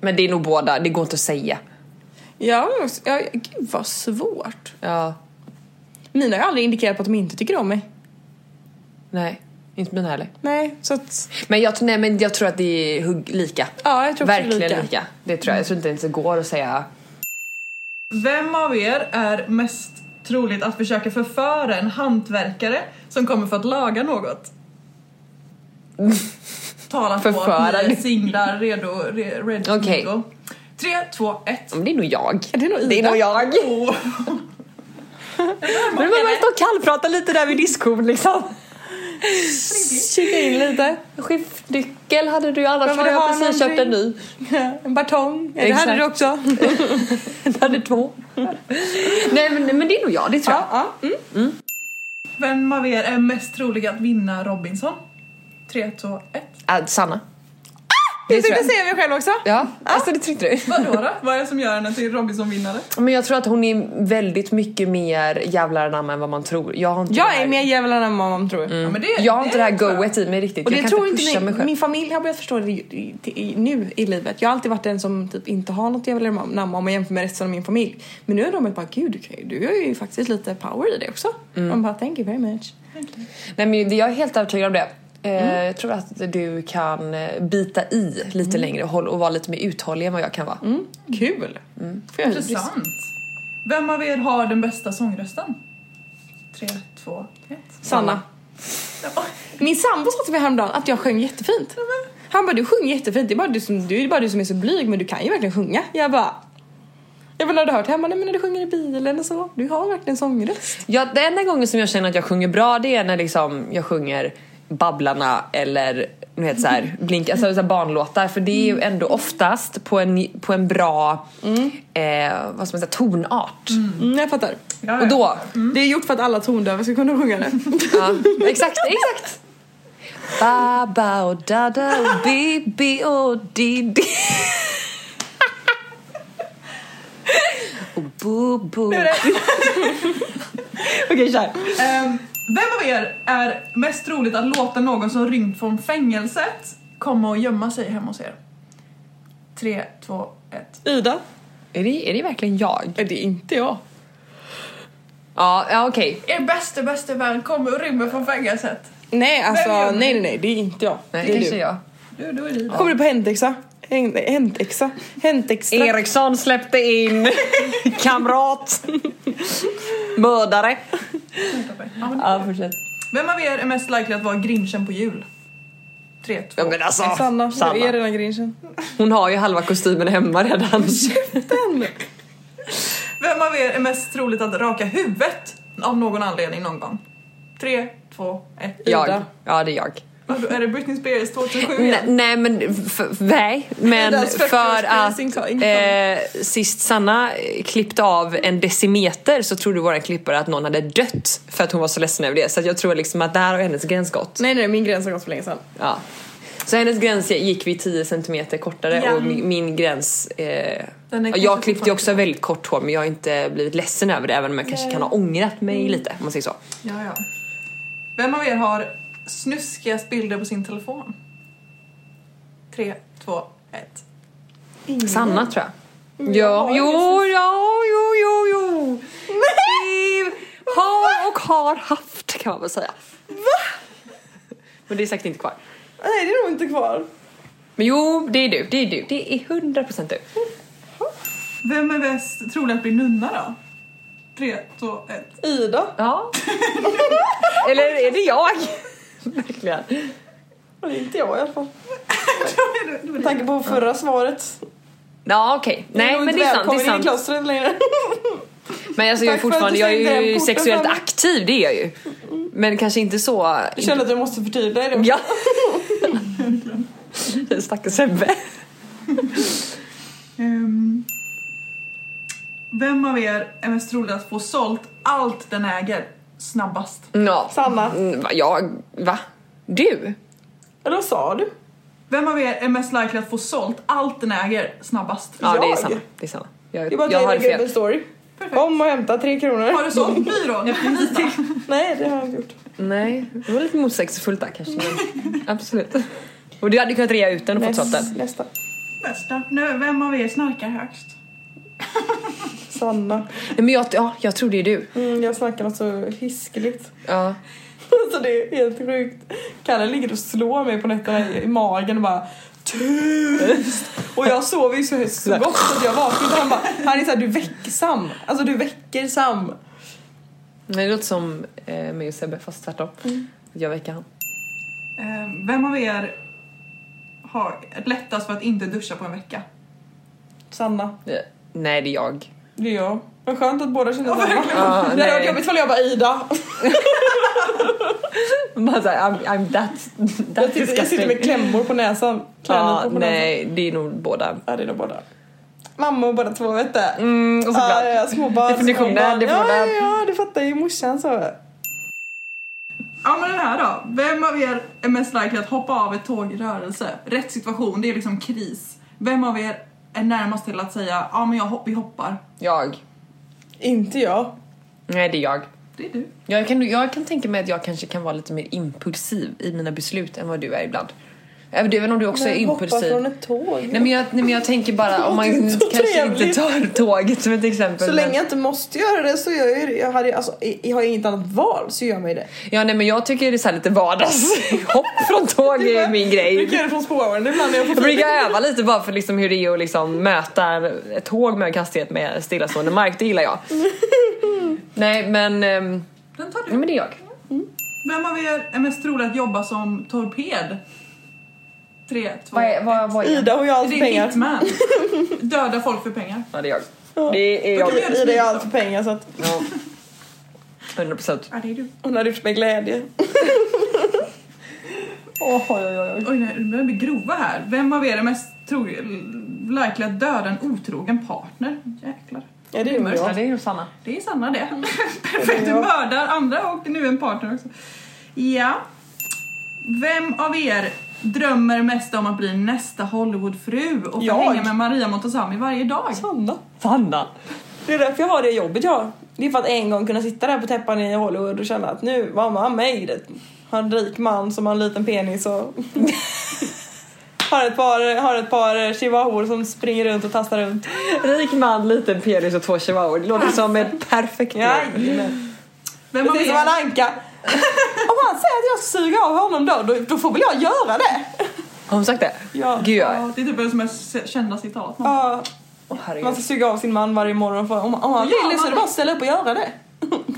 Speaker 2: Men det är nog båda, det går inte att säga.
Speaker 6: Ja, men också- ja, gud vad svårt.
Speaker 2: Ja,
Speaker 6: Mina har ju aldrig indikerat på att de inte tycker om mig.
Speaker 2: nej. Inte mina heller.
Speaker 6: Nej, så att...
Speaker 2: Men jag, tror- nej, men jag tror att det är hugg, lika.
Speaker 6: Ja, jag tror också
Speaker 2: Verkligen lika.
Speaker 6: lika.
Speaker 2: Det tror jag. Jag tror inte ens det går att säga.
Speaker 5: Vem av er är mest troligt att försöka förföra en hantverkare som kommer för att laga något. Tala på
Speaker 2: Förföra
Speaker 5: att ni är
Speaker 2: det.
Speaker 5: singlar, redo, re, redo.
Speaker 2: Okej.
Speaker 5: redo. Tre, två, ett. Oh.
Speaker 2: Men det är nog jag.
Speaker 6: Det är nog
Speaker 2: Det är nog jag.
Speaker 5: Åh.
Speaker 2: Men man bara stå och kallprata lite där vid diskon liksom. Kika in lite. Skiftnyckel hade du ju annars
Speaker 6: Men
Speaker 2: för
Speaker 6: vad
Speaker 2: du har
Speaker 6: har
Speaker 2: precis
Speaker 6: man
Speaker 2: köpt en ny.
Speaker 6: En batong. Ja, Det
Speaker 2: Exakt.
Speaker 6: hade du också.
Speaker 2: Du hade två. Nej men, men det är nog jag, det tror jag.
Speaker 6: Ja, ja. Mm.
Speaker 5: Vem av er är mest trolig att vinna Robinson? Tre, två, ett.
Speaker 2: Äh, Sanna.
Speaker 6: Ah! Jag
Speaker 2: tror
Speaker 6: tänkte
Speaker 2: jag.
Speaker 6: säga Ah! mig själv också.
Speaker 2: Ja, alltså det tyckte du.
Speaker 5: Vadå då? Vad är det som gör henne till Robinson-vinnare?
Speaker 2: Men jag tror att hon är väldigt mycket mer jävlar anamma än vad man tror. Jag har inte det
Speaker 6: Jag
Speaker 2: här-
Speaker 6: är mer djävulen än vad mamma tror.
Speaker 5: Ja, men det,
Speaker 2: Jag har inte det här
Speaker 5: tror jag.
Speaker 2: goet i mig riktigt.
Speaker 6: Och det
Speaker 2: jag kan
Speaker 6: tror
Speaker 2: inte pusha
Speaker 6: inte
Speaker 2: mig
Speaker 6: min,
Speaker 2: själv.
Speaker 6: min familj har börjat förstå det i- i- nu i livet. Jag har alltid varit den som typ inte har något djävulen namn om man jämför med resten av min familj. Men nu har de bara, gud du, kan ju- du har ju faktiskt lite power i det också.
Speaker 2: Mm.
Speaker 6: De bara, thank you very much.
Speaker 2: Nej men det- jag är helt övertygad om det. Eh,
Speaker 6: Mm.
Speaker 2: Jag tror att du kan eh, bita i lite längre och, håll, och vara lite mer uthållig än vad jag kan vara.
Speaker 6: Mm. Kul!
Speaker 2: Mm.
Speaker 6: Får jag hybris?
Speaker 5: Intressant. Vem av er har den bästa sångrösten? Tre, två, ett.
Speaker 6: Sanna. Min sambo sa till mig häromdagen att jag sjöng jättefint. Han bara, du sjunger jättefint. Det är, bara du som, du, det är bara du som är så blyg men du kan ju verkligen sjunga. Jag bara, jag bara, har du hört hemma? Nej men när du sjunger i bilen och så. Du har verkligen sångröst.
Speaker 2: Ja, den enda gången som jag känner att jag sjunger bra det är när liksom jag sjunger Babblarna eller ni vet, så här, blink, alltså, så här barnlåtar för det är ju
Speaker 6: Mm.
Speaker 2: ändå oftast på en, på en bra eh, vad ska man säga, tonart.
Speaker 6: Mm, jag fattar.
Speaker 5: Ja, ja.
Speaker 2: Och då,
Speaker 6: Det är gjort för att alla tondöva ska kunna sjunga det.
Speaker 2: ja, exakt, exakt! Baba och dada och bibi och didi och bobo.
Speaker 6: Okej, kör.
Speaker 5: Ehm, vem av er är mest troligt att låta någon som rymt från fängelset komma och gömma sig hemma hos er? Tre, två, ett.
Speaker 6: Ida?
Speaker 2: Är det, är det verkligen jag?
Speaker 6: Nej, det är inte jag.
Speaker 2: Ja, ja okej.
Speaker 5: Er bästa, bästa vän kommer och rymmer från fängelset.
Speaker 6: Nej, alltså
Speaker 5: Vem gör
Speaker 6: nej,
Speaker 5: det?
Speaker 6: nej, nej, det är inte jag.
Speaker 2: Nej,
Speaker 6: det är
Speaker 2: kanske
Speaker 6: du.
Speaker 2: jag.
Speaker 5: Du, då är det
Speaker 6: Kommer du på häntexa? Hänt- Häntexa? Häntextra?
Speaker 2: Eriksson släppte in kamrat, mördare.
Speaker 5: ja, men-
Speaker 2: Ja, fortsätt.
Speaker 5: Vem av er är mest likely att vara grinchen på jul? Tre, två,
Speaker 2: Ja, men alltså,
Speaker 6: Sanna,
Speaker 2: Sanna.
Speaker 6: du är redan grinchen.
Speaker 2: Hon har ju halva kostymen hemma redan.
Speaker 6: Den!
Speaker 5: Vem av er är mest troligt att raka huvudet av någon anledning någon gång? Tre, två, ett.
Speaker 2: Jag. Ja, det är jag.
Speaker 5: Vadå, Är det Britney Spears 2007
Speaker 2: Nej,
Speaker 5: igen?
Speaker 2: nej men, f- f- nej, men
Speaker 6: Deras
Speaker 2: för att
Speaker 6: förstaårspricing sa ingenting.
Speaker 2: eh, sist Sanna klippte av en decimeter så trodde våra klippare att någon hade dött för att hon var så ledsen över det. Så att jag tror liksom att där har hennes gräns gått.
Speaker 6: Nej, nej, min gräns har gått för länge sedan.
Speaker 2: Ja. Så hennes gräns gick vi 10 centimeter kortare
Speaker 5: Ja.
Speaker 2: och min, min gräns... Eh,
Speaker 5: Den är
Speaker 2: jag
Speaker 5: kanske
Speaker 2: klippte ju också väldigt kort hår men jag har inte blivit ledsen över det även om jag kanske kan ha ångrat mig
Speaker 5: Mm.
Speaker 2: lite om man säger så.
Speaker 5: Ja, ja. Vem av er har snuskigast bilder på sin telefon? Tre, två, ett.
Speaker 2: Sanna
Speaker 6: Mm.
Speaker 2: tror jag. Ja, jo, ja, jo, jo, jo. Vi har och har haft kan man väl säga. Va? Men det är säkert inte kvar.
Speaker 6: Nej, det är nog inte kvar.
Speaker 2: Men jo, det är du, det är du, det är 100% du.
Speaker 5: Vem är mest trolig att bli nunna då? Tre, två, ett.
Speaker 6: Ida?
Speaker 2: Ja. Eller är det jag? Verkligen.
Speaker 6: Det är inte jag i alla fall.
Speaker 5: Då är det- då är
Speaker 6: Med
Speaker 5: det-
Speaker 6: tanke på förra svaret.
Speaker 2: Ja okej, nej
Speaker 6: nog
Speaker 2: men det
Speaker 6: inte
Speaker 2: är sant, det är
Speaker 6: välkommen in
Speaker 2: sant.
Speaker 6: i klostret längre.
Speaker 2: Men alltså jag är
Speaker 6: Tack för att
Speaker 2: fortfarande,
Speaker 6: du
Speaker 2: jag är
Speaker 6: stängde
Speaker 2: ju
Speaker 6: den porten,
Speaker 2: sexuellt
Speaker 6: Sanna.
Speaker 2: aktiv, det är jag ju. Men kanske inte så...
Speaker 6: Jag känner att du måste förtydliga dig.
Speaker 2: Ja. Stackars Sebbe.
Speaker 5: Ehm, vem av er är mest trolig att få sålt allt den äger snabbast?
Speaker 2: Ja.
Speaker 6: Sanna.
Speaker 2: Mm, va- Jag, va? Du?
Speaker 6: Eller vad sa du?
Speaker 5: Vem av er är mest likely att få sålt allt den äger snabbast?
Speaker 2: Ja det är
Speaker 6: Jag?
Speaker 2: samma. Det är samma. Jag,
Speaker 6: Det är bara
Speaker 2: jag,
Speaker 6: att jag
Speaker 2: har
Speaker 6: lägger upp
Speaker 2: fel.
Speaker 6: en story. Om och hämta tre kronor.
Speaker 5: Har du sålt byrån? Anita?
Speaker 6: Nej, det har jag inte gjort.
Speaker 2: Nej, det var lite motsägelsefullt där kanske. men Absolut. Och du hade kunnat rea ut den och fått sålt den.
Speaker 6: nästa.
Speaker 5: Nästa. Nu, vem av er snarkar högst?
Speaker 6: Sanna.
Speaker 2: Nej, men jag, ja, jag tror det är du.
Speaker 6: Mm, jag snackar något så hiskeligt.
Speaker 2: Ja.
Speaker 6: Alltså det är helt sjukt. Kalle ligger och slår mig på nätterna i i magen och bara Tyst! Och jag sover ju så, så gott så att jag vaknar och han bara Han är såhär du väcker Sam. Alltså du väcker Sam.
Speaker 2: Nej, det låter som eh, mig och Sebbe fast tvärtom. Jag väcker han.
Speaker 5: Eh, Vem av er har lättast för att inte duscha på en vecka?
Speaker 6: Sanna.
Speaker 2: Eh, Nej, det är jag.
Speaker 6: Det är jag. Vad skönt att båda känner samma.
Speaker 5: verkligen.
Speaker 2: Ah,
Speaker 6: Det hade
Speaker 2: nej.
Speaker 6: varit jobbigt ifall jag var Ida.
Speaker 2: Man säger I'm, I'm that,
Speaker 6: Jag
Speaker 2: that
Speaker 6: sitter, jag sitter med
Speaker 2: disgusting.
Speaker 6: klämmor på näsan.
Speaker 2: Ja,
Speaker 6: Klämmor på näsan.
Speaker 2: nej, det är nog båda.
Speaker 6: Ja, det är nog båda. Mamma och båda två, vet du.
Speaker 2: Mm, och såklart.
Speaker 6: Ja, ja, småbarn.
Speaker 2: Definitionen,
Speaker 6: småbarn. Ja,
Speaker 2: definitionen.
Speaker 6: ja, det fattar ju morsan så.
Speaker 5: Ja men den här då. Vem av er är mest likely att hoppa av ett tåg i rörelse? Rätt situation, det är liksom kris. Vem av er är närmast till att säga ja men jag hopp, vi hoppar?
Speaker 2: Jag.
Speaker 6: Inte jag.
Speaker 2: Nej, det är jag.
Speaker 5: Det är du.
Speaker 2: Jag kan, jag kan tänka mig att jag kanske kan vara lite mer impulsiv i mina beslut än vad du är ibland. Även även om du också är
Speaker 6: Men hoppa
Speaker 2: impulsiv.
Speaker 6: från ett tåg.
Speaker 2: Nej men, jag, nej men jag tänker bara om man
Speaker 6: Det låter
Speaker 2: kanske
Speaker 6: inte så
Speaker 2: inte
Speaker 6: trevligt.
Speaker 2: tar tåget som ett exempel.
Speaker 6: Så
Speaker 2: men-
Speaker 6: länge jag inte måste göra det så gör jag ju det. Jag hade, ju- alltså, i- har jag inget annat val så gör jag mig det.
Speaker 2: Ja nej men jag tycker det är så här lite vardags. Hopp från tåg är min
Speaker 6: Jag
Speaker 2: grej.
Speaker 6: brukar göra det från spåren ibland när jag
Speaker 2: Jag
Speaker 6: får
Speaker 2: brukar öva lite bara för liksom hur det är att liksom möta ett tåg med hög hastighet med stillastående mark, det gillar jag. Nej men, ehm,
Speaker 5: Den tar du.
Speaker 2: nej, men det är jag.
Speaker 5: Vem av er är mest trolig att jobba som torped? Tre, två,
Speaker 7: Vad är, vad, vad är
Speaker 6: Ida och jag
Speaker 5: Det
Speaker 6: har allt för
Speaker 5: är
Speaker 6: pengar.
Speaker 5: hitman. Döda folk för pengar.
Speaker 2: Ja det är jag. Det är jag.
Speaker 5: Okej.
Speaker 6: Ida och jag har allt för pengar så att
Speaker 2: Ja. 100%.
Speaker 5: Ja, det är du.
Speaker 6: hon har gjort med glädje. Åh, oj, oj, oj.
Speaker 5: Oj, nej, det börjar bli grova här. Vem av er är mest trolig, likely att döda en otrogen partner? Jäklar.
Speaker 6: Ja, det är nog
Speaker 2: Ja
Speaker 6: jag.
Speaker 2: det är nog Sanna.
Speaker 5: Det är Sanna det. Perfekt, du
Speaker 6: Mm. Ja.
Speaker 5: mördar andra och nu en partner också. Ja. Vem av er drömmer mest om att bli nästa Hollywoodfru och få
Speaker 6: Jag.
Speaker 5: hänga med Maria Montazami varje dag?
Speaker 6: Sanna.
Speaker 2: Sanna!
Speaker 6: Det är därför jag har det jobbet jag har. Det är för att en gång kunna sitta där på täppan i Hollywood och känna att nu var man made it. Har en rik man som har en liten penis och har ett par, har ett par chihuahuor som springer runt och tassar runt.
Speaker 2: Rik man, liten penis och två chihuahuor. Det låter som ett perfekt liv.
Speaker 6: Jajamän.
Speaker 5: Vem av
Speaker 6: Precis som en
Speaker 5: er,
Speaker 6: anka. Om han säger att jag ska suga av honom då, då, då får väl jag göra det.
Speaker 2: Har hon sagt det?
Speaker 6: Ja.
Speaker 2: Gud jag
Speaker 5: Ja, det är typ det som är kända citat. Man.
Speaker 6: Ja,
Speaker 2: Åh herregud.
Speaker 6: man ska suga av sin man varje morgon. För om, om han
Speaker 5: Ja,
Speaker 6: vill det så är det
Speaker 5: man-
Speaker 6: bara att ställa upp och göra det.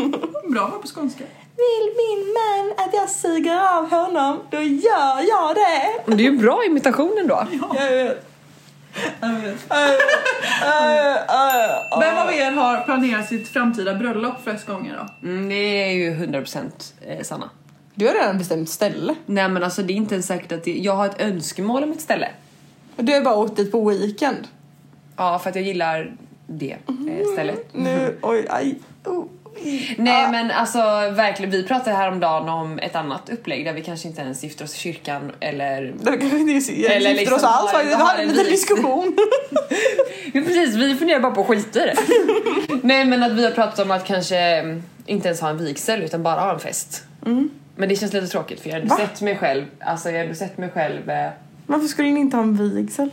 Speaker 5: "Mm, Bra var på skånska.
Speaker 6: Vill min man att jag suger av honom, då gör jag det.
Speaker 2: Men Det är ju bra imitation ändå.
Speaker 6: Jag vet. Jag vet. Äh, äh,
Speaker 5: Vem av er har planerat sitt framtida bröllop flest gånger då?
Speaker 2: Mm, det är ju 100% eh, Sanna.
Speaker 6: Du har redan bestämt ställe.
Speaker 2: Nej men alltså det är inte ens säkert att det, jag har ett önskemål om ett ställe.
Speaker 6: Du har bara åkt dit på weekend.
Speaker 2: Ja för att jag gillar det
Speaker 6: Mhm.
Speaker 2: eh, stället.
Speaker 6: Mm, Nu, oj, aj. Oh.
Speaker 2: Nej men alltså verkligen, vi pratade häromdagen om ett annat upplägg där vi kanske inte ens gifter oss i kyrkan eller...
Speaker 6: Det kanske inte gifter
Speaker 2: Eller liksom
Speaker 6: oss alls
Speaker 2: har-
Speaker 6: faktiskt. Vi
Speaker 2: har
Speaker 6: hade en
Speaker 2: en
Speaker 6: liten
Speaker 2: bil.
Speaker 6: diskussion.
Speaker 2: Ja, precis, vi funderar bara på att skita i det. Nej men att vi har pratat om att kanske mm, inte ens ha en vigsel utan bara ha en fest. Men det känns lite tråkigt för jag har ändå
Speaker 6: Va?
Speaker 2: sett mig själv, alltså jag har ändå sett mig själv eh,
Speaker 6: Varför skulle ni inte ha en vigsel?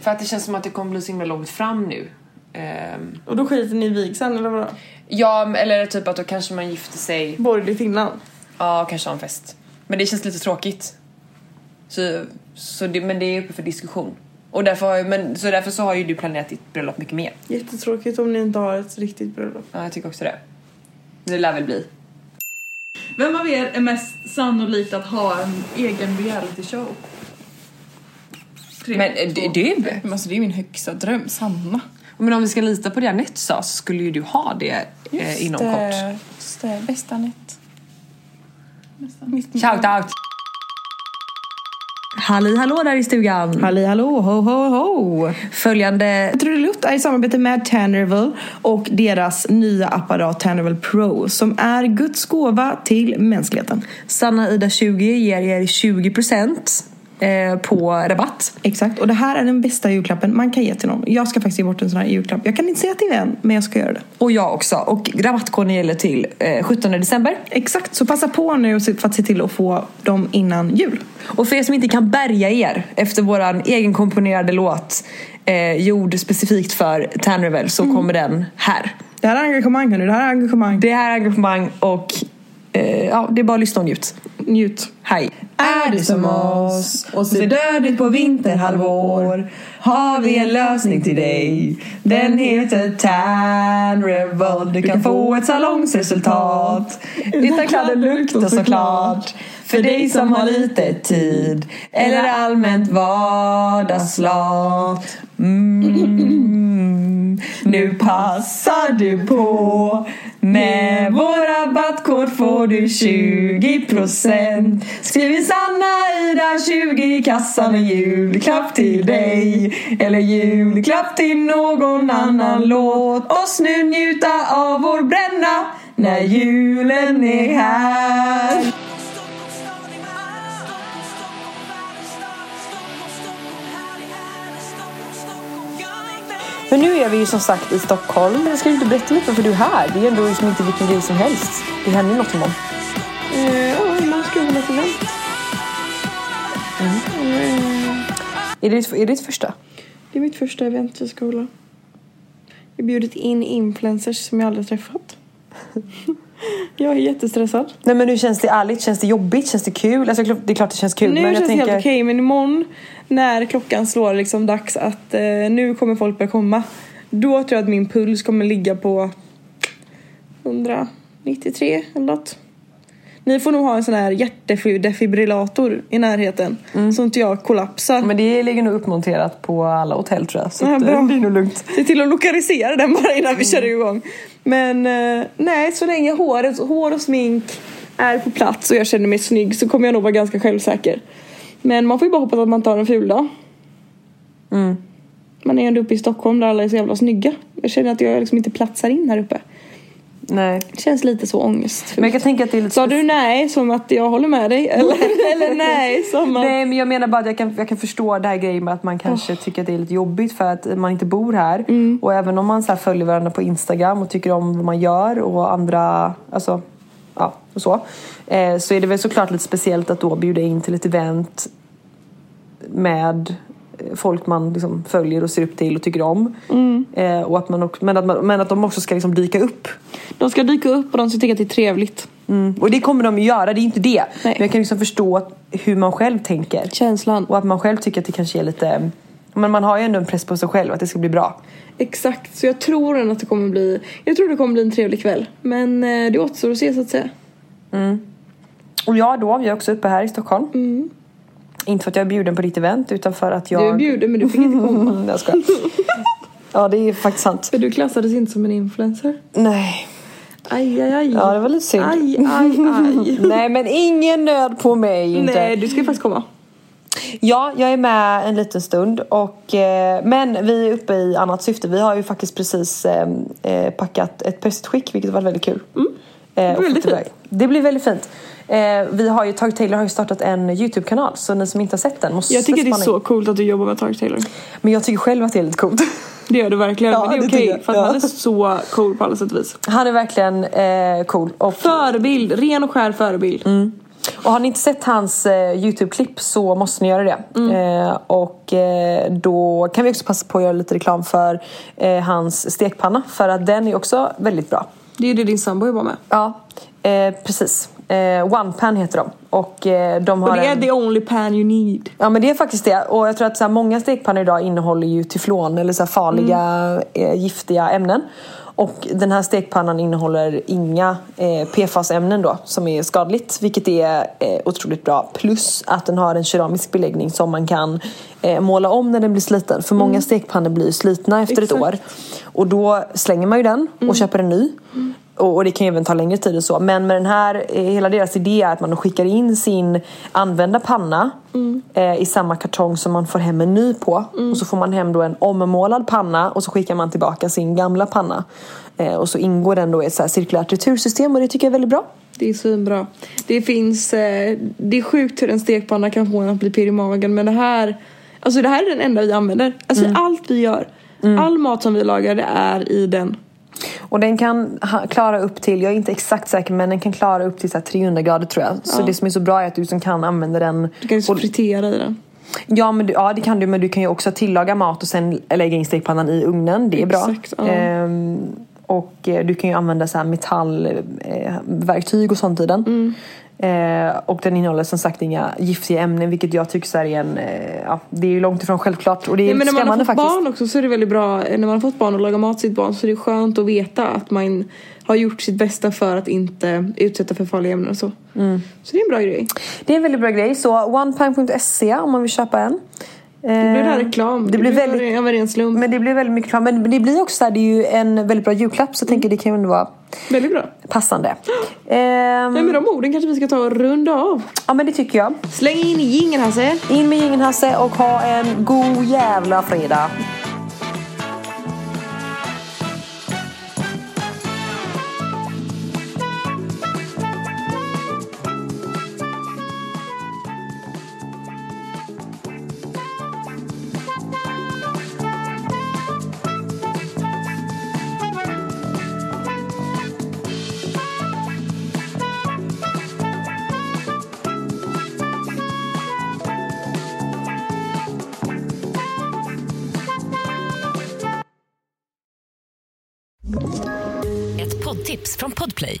Speaker 2: För att det känns som att det kommer bli så himla långt fram nu. Ehm,
Speaker 6: Och då skiter ni i vigseln eller vadå?
Speaker 2: ja, eller typ att då kanske man gifter sig.
Speaker 6: Borgerligt innan.
Speaker 2: Ja, kanske har en fest. Men det känns lite tråkigt. Så, så det, men det är uppe för diskussion. Och därför har, ju- men, så därför så har ju du planerat ditt bröllop mycket mer.
Speaker 6: Jättetråkigt om ni inte har ett riktigt bröllop.
Speaker 2: Ja, jag tycker också det. Det lär väl bli.
Speaker 5: Vem av er är mest sannolikt att ha en egen reality-show? Tre,
Speaker 2: Men eh,
Speaker 5: två,
Speaker 2: d- du!
Speaker 6: Men alltså det är min högsta dröm, Sanna.
Speaker 2: Men om vi ska lita på det Anette sa så skulle ju du ha det eh, inom kort.
Speaker 6: Just det, bästa Anette.
Speaker 5: nästan.
Speaker 6: Mitt
Speaker 2: Shout out! Halli hallå där i stugan!
Speaker 6: Halli hallå, ho ho ho!
Speaker 2: Följande...
Speaker 6: Trudelutt är i samarbete med Tannerville och deras nya apparat Tannerville Pro som är Guds gåva till mänskligheten.
Speaker 2: Sanna Ida 20 ger er 20% eh, på rabatt.
Speaker 6: Exakt, och det här är den bästa julklappen man kan ge till någon. Jag ska faktiskt ge bort en sån här julklapp. Jag kan inte säga till vem, men jag ska göra det.
Speaker 2: Och jag också. Och rabattkoden gäller till eh, 17 december.
Speaker 6: Exakt, så passa på nu för att se till att få dem innan jul.
Speaker 2: Och för er som inte kan bärga er efter våran egenkomponerade låt eh, gjord specifikt för Tanrivel så
Speaker 1: Mm.
Speaker 2: kommer den här.
Speaker 6: Det här är engagemang hörni, det här är engagemang.
Speaker 2: Det här är engagemang och eh, ja, det är bara att lyssna och njut.
Speaker 6: Njut.
Speaker 2: Hej!
Speaker 1: Är du som oss och ser död ut på vinterhalvår har vi en lösning till dig. Den heter Tan Revolt. Du kan få ett salongsresultat utan kladderlukt och såklart. För dig som har lite tid eller allmänt vardagslat. Mm. Nu passar du på Med vår rabattkod får du 20% Skriv in Sanna Ida 20 i kassan och julklapp till dig Eller julklapp till någon annan Låt oss nu njuta av vår bränna När julen är här
Speaker 2: Men nu är vi ju som sagt i Stockholm. Men jag ska ju inte berätta mycket för du är här. Det är ändå liksom inte vilken grej som helst. Det händer ju något imorgon.
Speaker 6: Eh,
Speaker 2: Ja, uh, imorgon ska jag hålla ett event. Är, det, är det ditt första?
Speaker 6: Det är mitt första event jag ska hålla. Jag har bjudit in influencers som jag aldrig träffat. jag är jättestressad.
Speaker 2: Nej men nu känns det ärligt? Känns det jobbigt? Känns det kul? Alltså klart- det är klart det känns kul
Speaker 6: nu
Speaker 2: men
Speaker 6: känns
Speaker 2: jag
Speaker 6: det
Speaker 2: tänker...
Speaker 6: helt okej men imorgon när klockan slår liksom dags att eh, nu kommer folk börja komma. Då tror jag att min puls kommer ligga på 193 eller något. Ni får nog ha en sån här hjärtdefibrillator i närheten
Speaker 2: Mm.
Speaker 6: så inte jag kollapsar.
Speaker 2: Men det ligger nog uppmonterat på alla hotell tror jag. Så
Speaker 6: Ja,
Speaker 2: att, eh,
Speaker 6: bra.
Speaker 2: det är nog lugnt.
Speaker 6: Se till att lokalisera den bara innan vi kör igång. Men eh, nej, så länge håret, hår och smink är på plats och jag känner mig snygg så kommer jag nog vara ganska självsäker. Men man får ju bara hoppas att man tar en ful dag. Mm. Man är ju ändå uppe i Stockholm där alla är så jävla snygga. Jag känner att jag liksom inte platsar in här uppe.
Speaker 2: Nej.
Speaker 6: Det känns lite så ångest.
Speaker 2: Men jag kan tänka att det är lite...
Speaker 6: Sa du nej som att jag håller med dig? Eller, eller nej som att...
Speaker 2: Nej men jag menar bara att jag kan, jag kan förstå det här grejen med att man kanske tycker att det är lite jobbigt för att man inte bor här. Och även om man så här följer varandra på Instagram och tycker om vad man gör och andra, alltså ja och så. Eh, så är det väl såklart lite speciellt att då bjuda in till ett event med eh, folk man liksom följer och ser upp till och tycker om. Eh, och att man också, men, att man, men att de också ska liksom dyka upp.
Speaker 6: De ska dyka upp och de ska tycka att det är trevligt.
Speaker 2: Mm. Och det kommer de ju göra, det är inte det.
Speaker 6: Nej.
Speaker 2: Men jag kan liksom förstå att- hur man själv tänker.
Speaker 6: Känslan.
Speaker 2: Och att man själv tycker att det kanske är lite... Men man har ju ändå en press på sig själv att det ska bli bra.
Speaker 6: Exakt, så jag tror ändå att det kommer bli Jag tror det kommer bli en trevlig kväll Men eh, det återstår att se så att säga
Speaker 2: Och jag då, jag är också uppe här i Stockholm. Inte för att jag är bjuden på ditt event utan för att jag...
Speaker 6: Du är bjuden men du fick inte komma
Speaker 2: Mm, jag skojar. ja, det är faktiskt sant.
Speaker 6: För du klassades inte som en influencer
Speaker 2: Nej.
Speaker 6: Aj aj aj
Speaker 2: Ja, det var lite synd.
Speaker 6: Aj aj aj
Speaker 2: Nej, men ingen nöd på mig inte.
Speaker 6: Nej du ska ju faktiskt komma
Speaker 2: Ja, jag är med en liten stund. Och, eh, men vi är uppe i annat syfte. Vi har ju faktiskt precis eh, eh, packat ett pressutskick, vilket har varit väldigt kul. Eh, och
Speaker 6: väldigt
Speaker 2: fått iväg. Det blir väldigt fint. Eh, vi har ju, Tag Taylor har ju startat en YouTube-kanal, så ni som inte har sett den måste
Speaker 6: Jag tycker det är
Speaker 2: spana in.
Speaker 6: så coolt att du jobbar med Tark Taylor
Speaker 2: Men jag tycker själv att det är lite coolt.
Speaker 6: Det gör du verkligen
Speaker 2: Ja,
Speaker 6: men det
Speaker 2: det
Speaker 6: är
Speaker 2: tycker
Speaker 6: okej
Speaker 2: jag.
Speaker 6: för att
Speaker 2: Ja.
Speaker 6: han är så cool på alla sätt och vis
Speaker 2: Han är verkligen eh, cool. Och,
Speaker 6: Förebild, ren och skär förebild
Speaker 2: och har ni inte sett hans eh, YouTube-klipp så måste ni göra det.
Speaker 6: Mm.
Speaker 2: Eh, och eh, då kan vi också passa på att göra lite reklam för eh, hans stekpanna, för att den är också väldigt bra.
Speaker 6: Det är ju det din sambo jobbar med
Speaker 2: Ja, eh, precis. Eh, One Pan heter de. Och eh, de har
Speaker 6: Och det är
Speaker 2: en...
Speaker 6: the only pan you need
Speaker 2: Ja men det är faktiskt det. Och jag tror att så här, många stekpannor idag innehåller ju tyflon eller så här, farliga eh, giftiga ämnen. Och den här stekpannan innehåller inga eh, PFAS-ämnen då som är skadligt. Vilket är eh, otroligt bra. Plus att den har en keramisk beläggning som man kan eh, måla om när den blir sliten. För många stekpannor blir ju slitna efter ett år. Och då slänger man ju den och köper en ny. Och, och det kan ju även ta längre tid och så. Men med den här, eh, hela deras idé är att man skickar in sin använda panna eh, i samma kartong som man får hem en ny på. Och så får man hem då en ommålad panna och så skickar man tillbaka sin gamla panna. Eh, och så ingår den då i ett så här cirkulärt retursystem och det tycker jag är väldigt bra.
Speaker 6: Det är svinbra. Det finns, eh, det är sjukt hur en stekpanna kan få en att bli pirr i magen men det här, alltså det här är den enda vi använder. Alltså
Speaker 2: Mm.
Speaker 6: allt vi gör, all mat som vi lagar det är i den.
Speaker 2: Och den kan ha, klara upp till, jag är inte exakt säker men den kan klara upp till så här 300 grader tror jag. Så det som är så bra är att du som kan använda den
Speaker 6: Du kan ju fritera i den.
Speaker 2: Ja, men du, ja det kan du men du kan ju också tillaga mat och sen lägga in stekpannan i ugnen. Det är bra.
Speaker 6: Exakt, ja.
Speaker 2: Ehm,
Speaker 6: Mm.
Speaker 2: och eh, du kan ju använda så här metallverktyg eh, verktyg och sånt i den. Eh, och den innehåller som sagt inga giftiga ämnen vilket jag tycker så här är en, eh, ja, det är ju långt ifrån självklart och det är
Speaker 6: Nej, men när man har
Speaker 2: skrämmande
Speaker 6: fått
Speaker 2: faktiskt.
Speaker 6: barn också så är det väldigt bra, när man har fått barn och lagar mat till sitt barn så är det skönt att veta att man har gjort sitt bästa för att inte utsätta för farliga ämnen och så.
Speaker 2: Mm.
Speaker 6: Så det är en bra grej.
Speaker 2: Det är en väldigt bra grej så onepang.se om man vill köpa en. Ehm,
Speaker 6: Det blir det här reklam.
Speaker 2: Eh, Det blir väldigt
Speaker 6: av en ren slump.
Speaker 2: men det blir väldigt mycket reklam. Men det blir också så här, det är ju en väldigt bra julklapp så jag
Speaker 6: Mm.
Speaker 2: tänker det kan ju ändå vara
Speaker 6: Väldigt bra.
Speaker 2: passande. Ehm,
Speaker 6: Nej, med de orden kanske vi ska ta och runda av.
Speaker 2: Ja men det tycker jag.
Speaker 6: Släng in jingeln Hasse.
Speaker 2: In med ingen Hasse och ha en god jävla fredag.
Speaker 8: Ett poddtips från Podplay.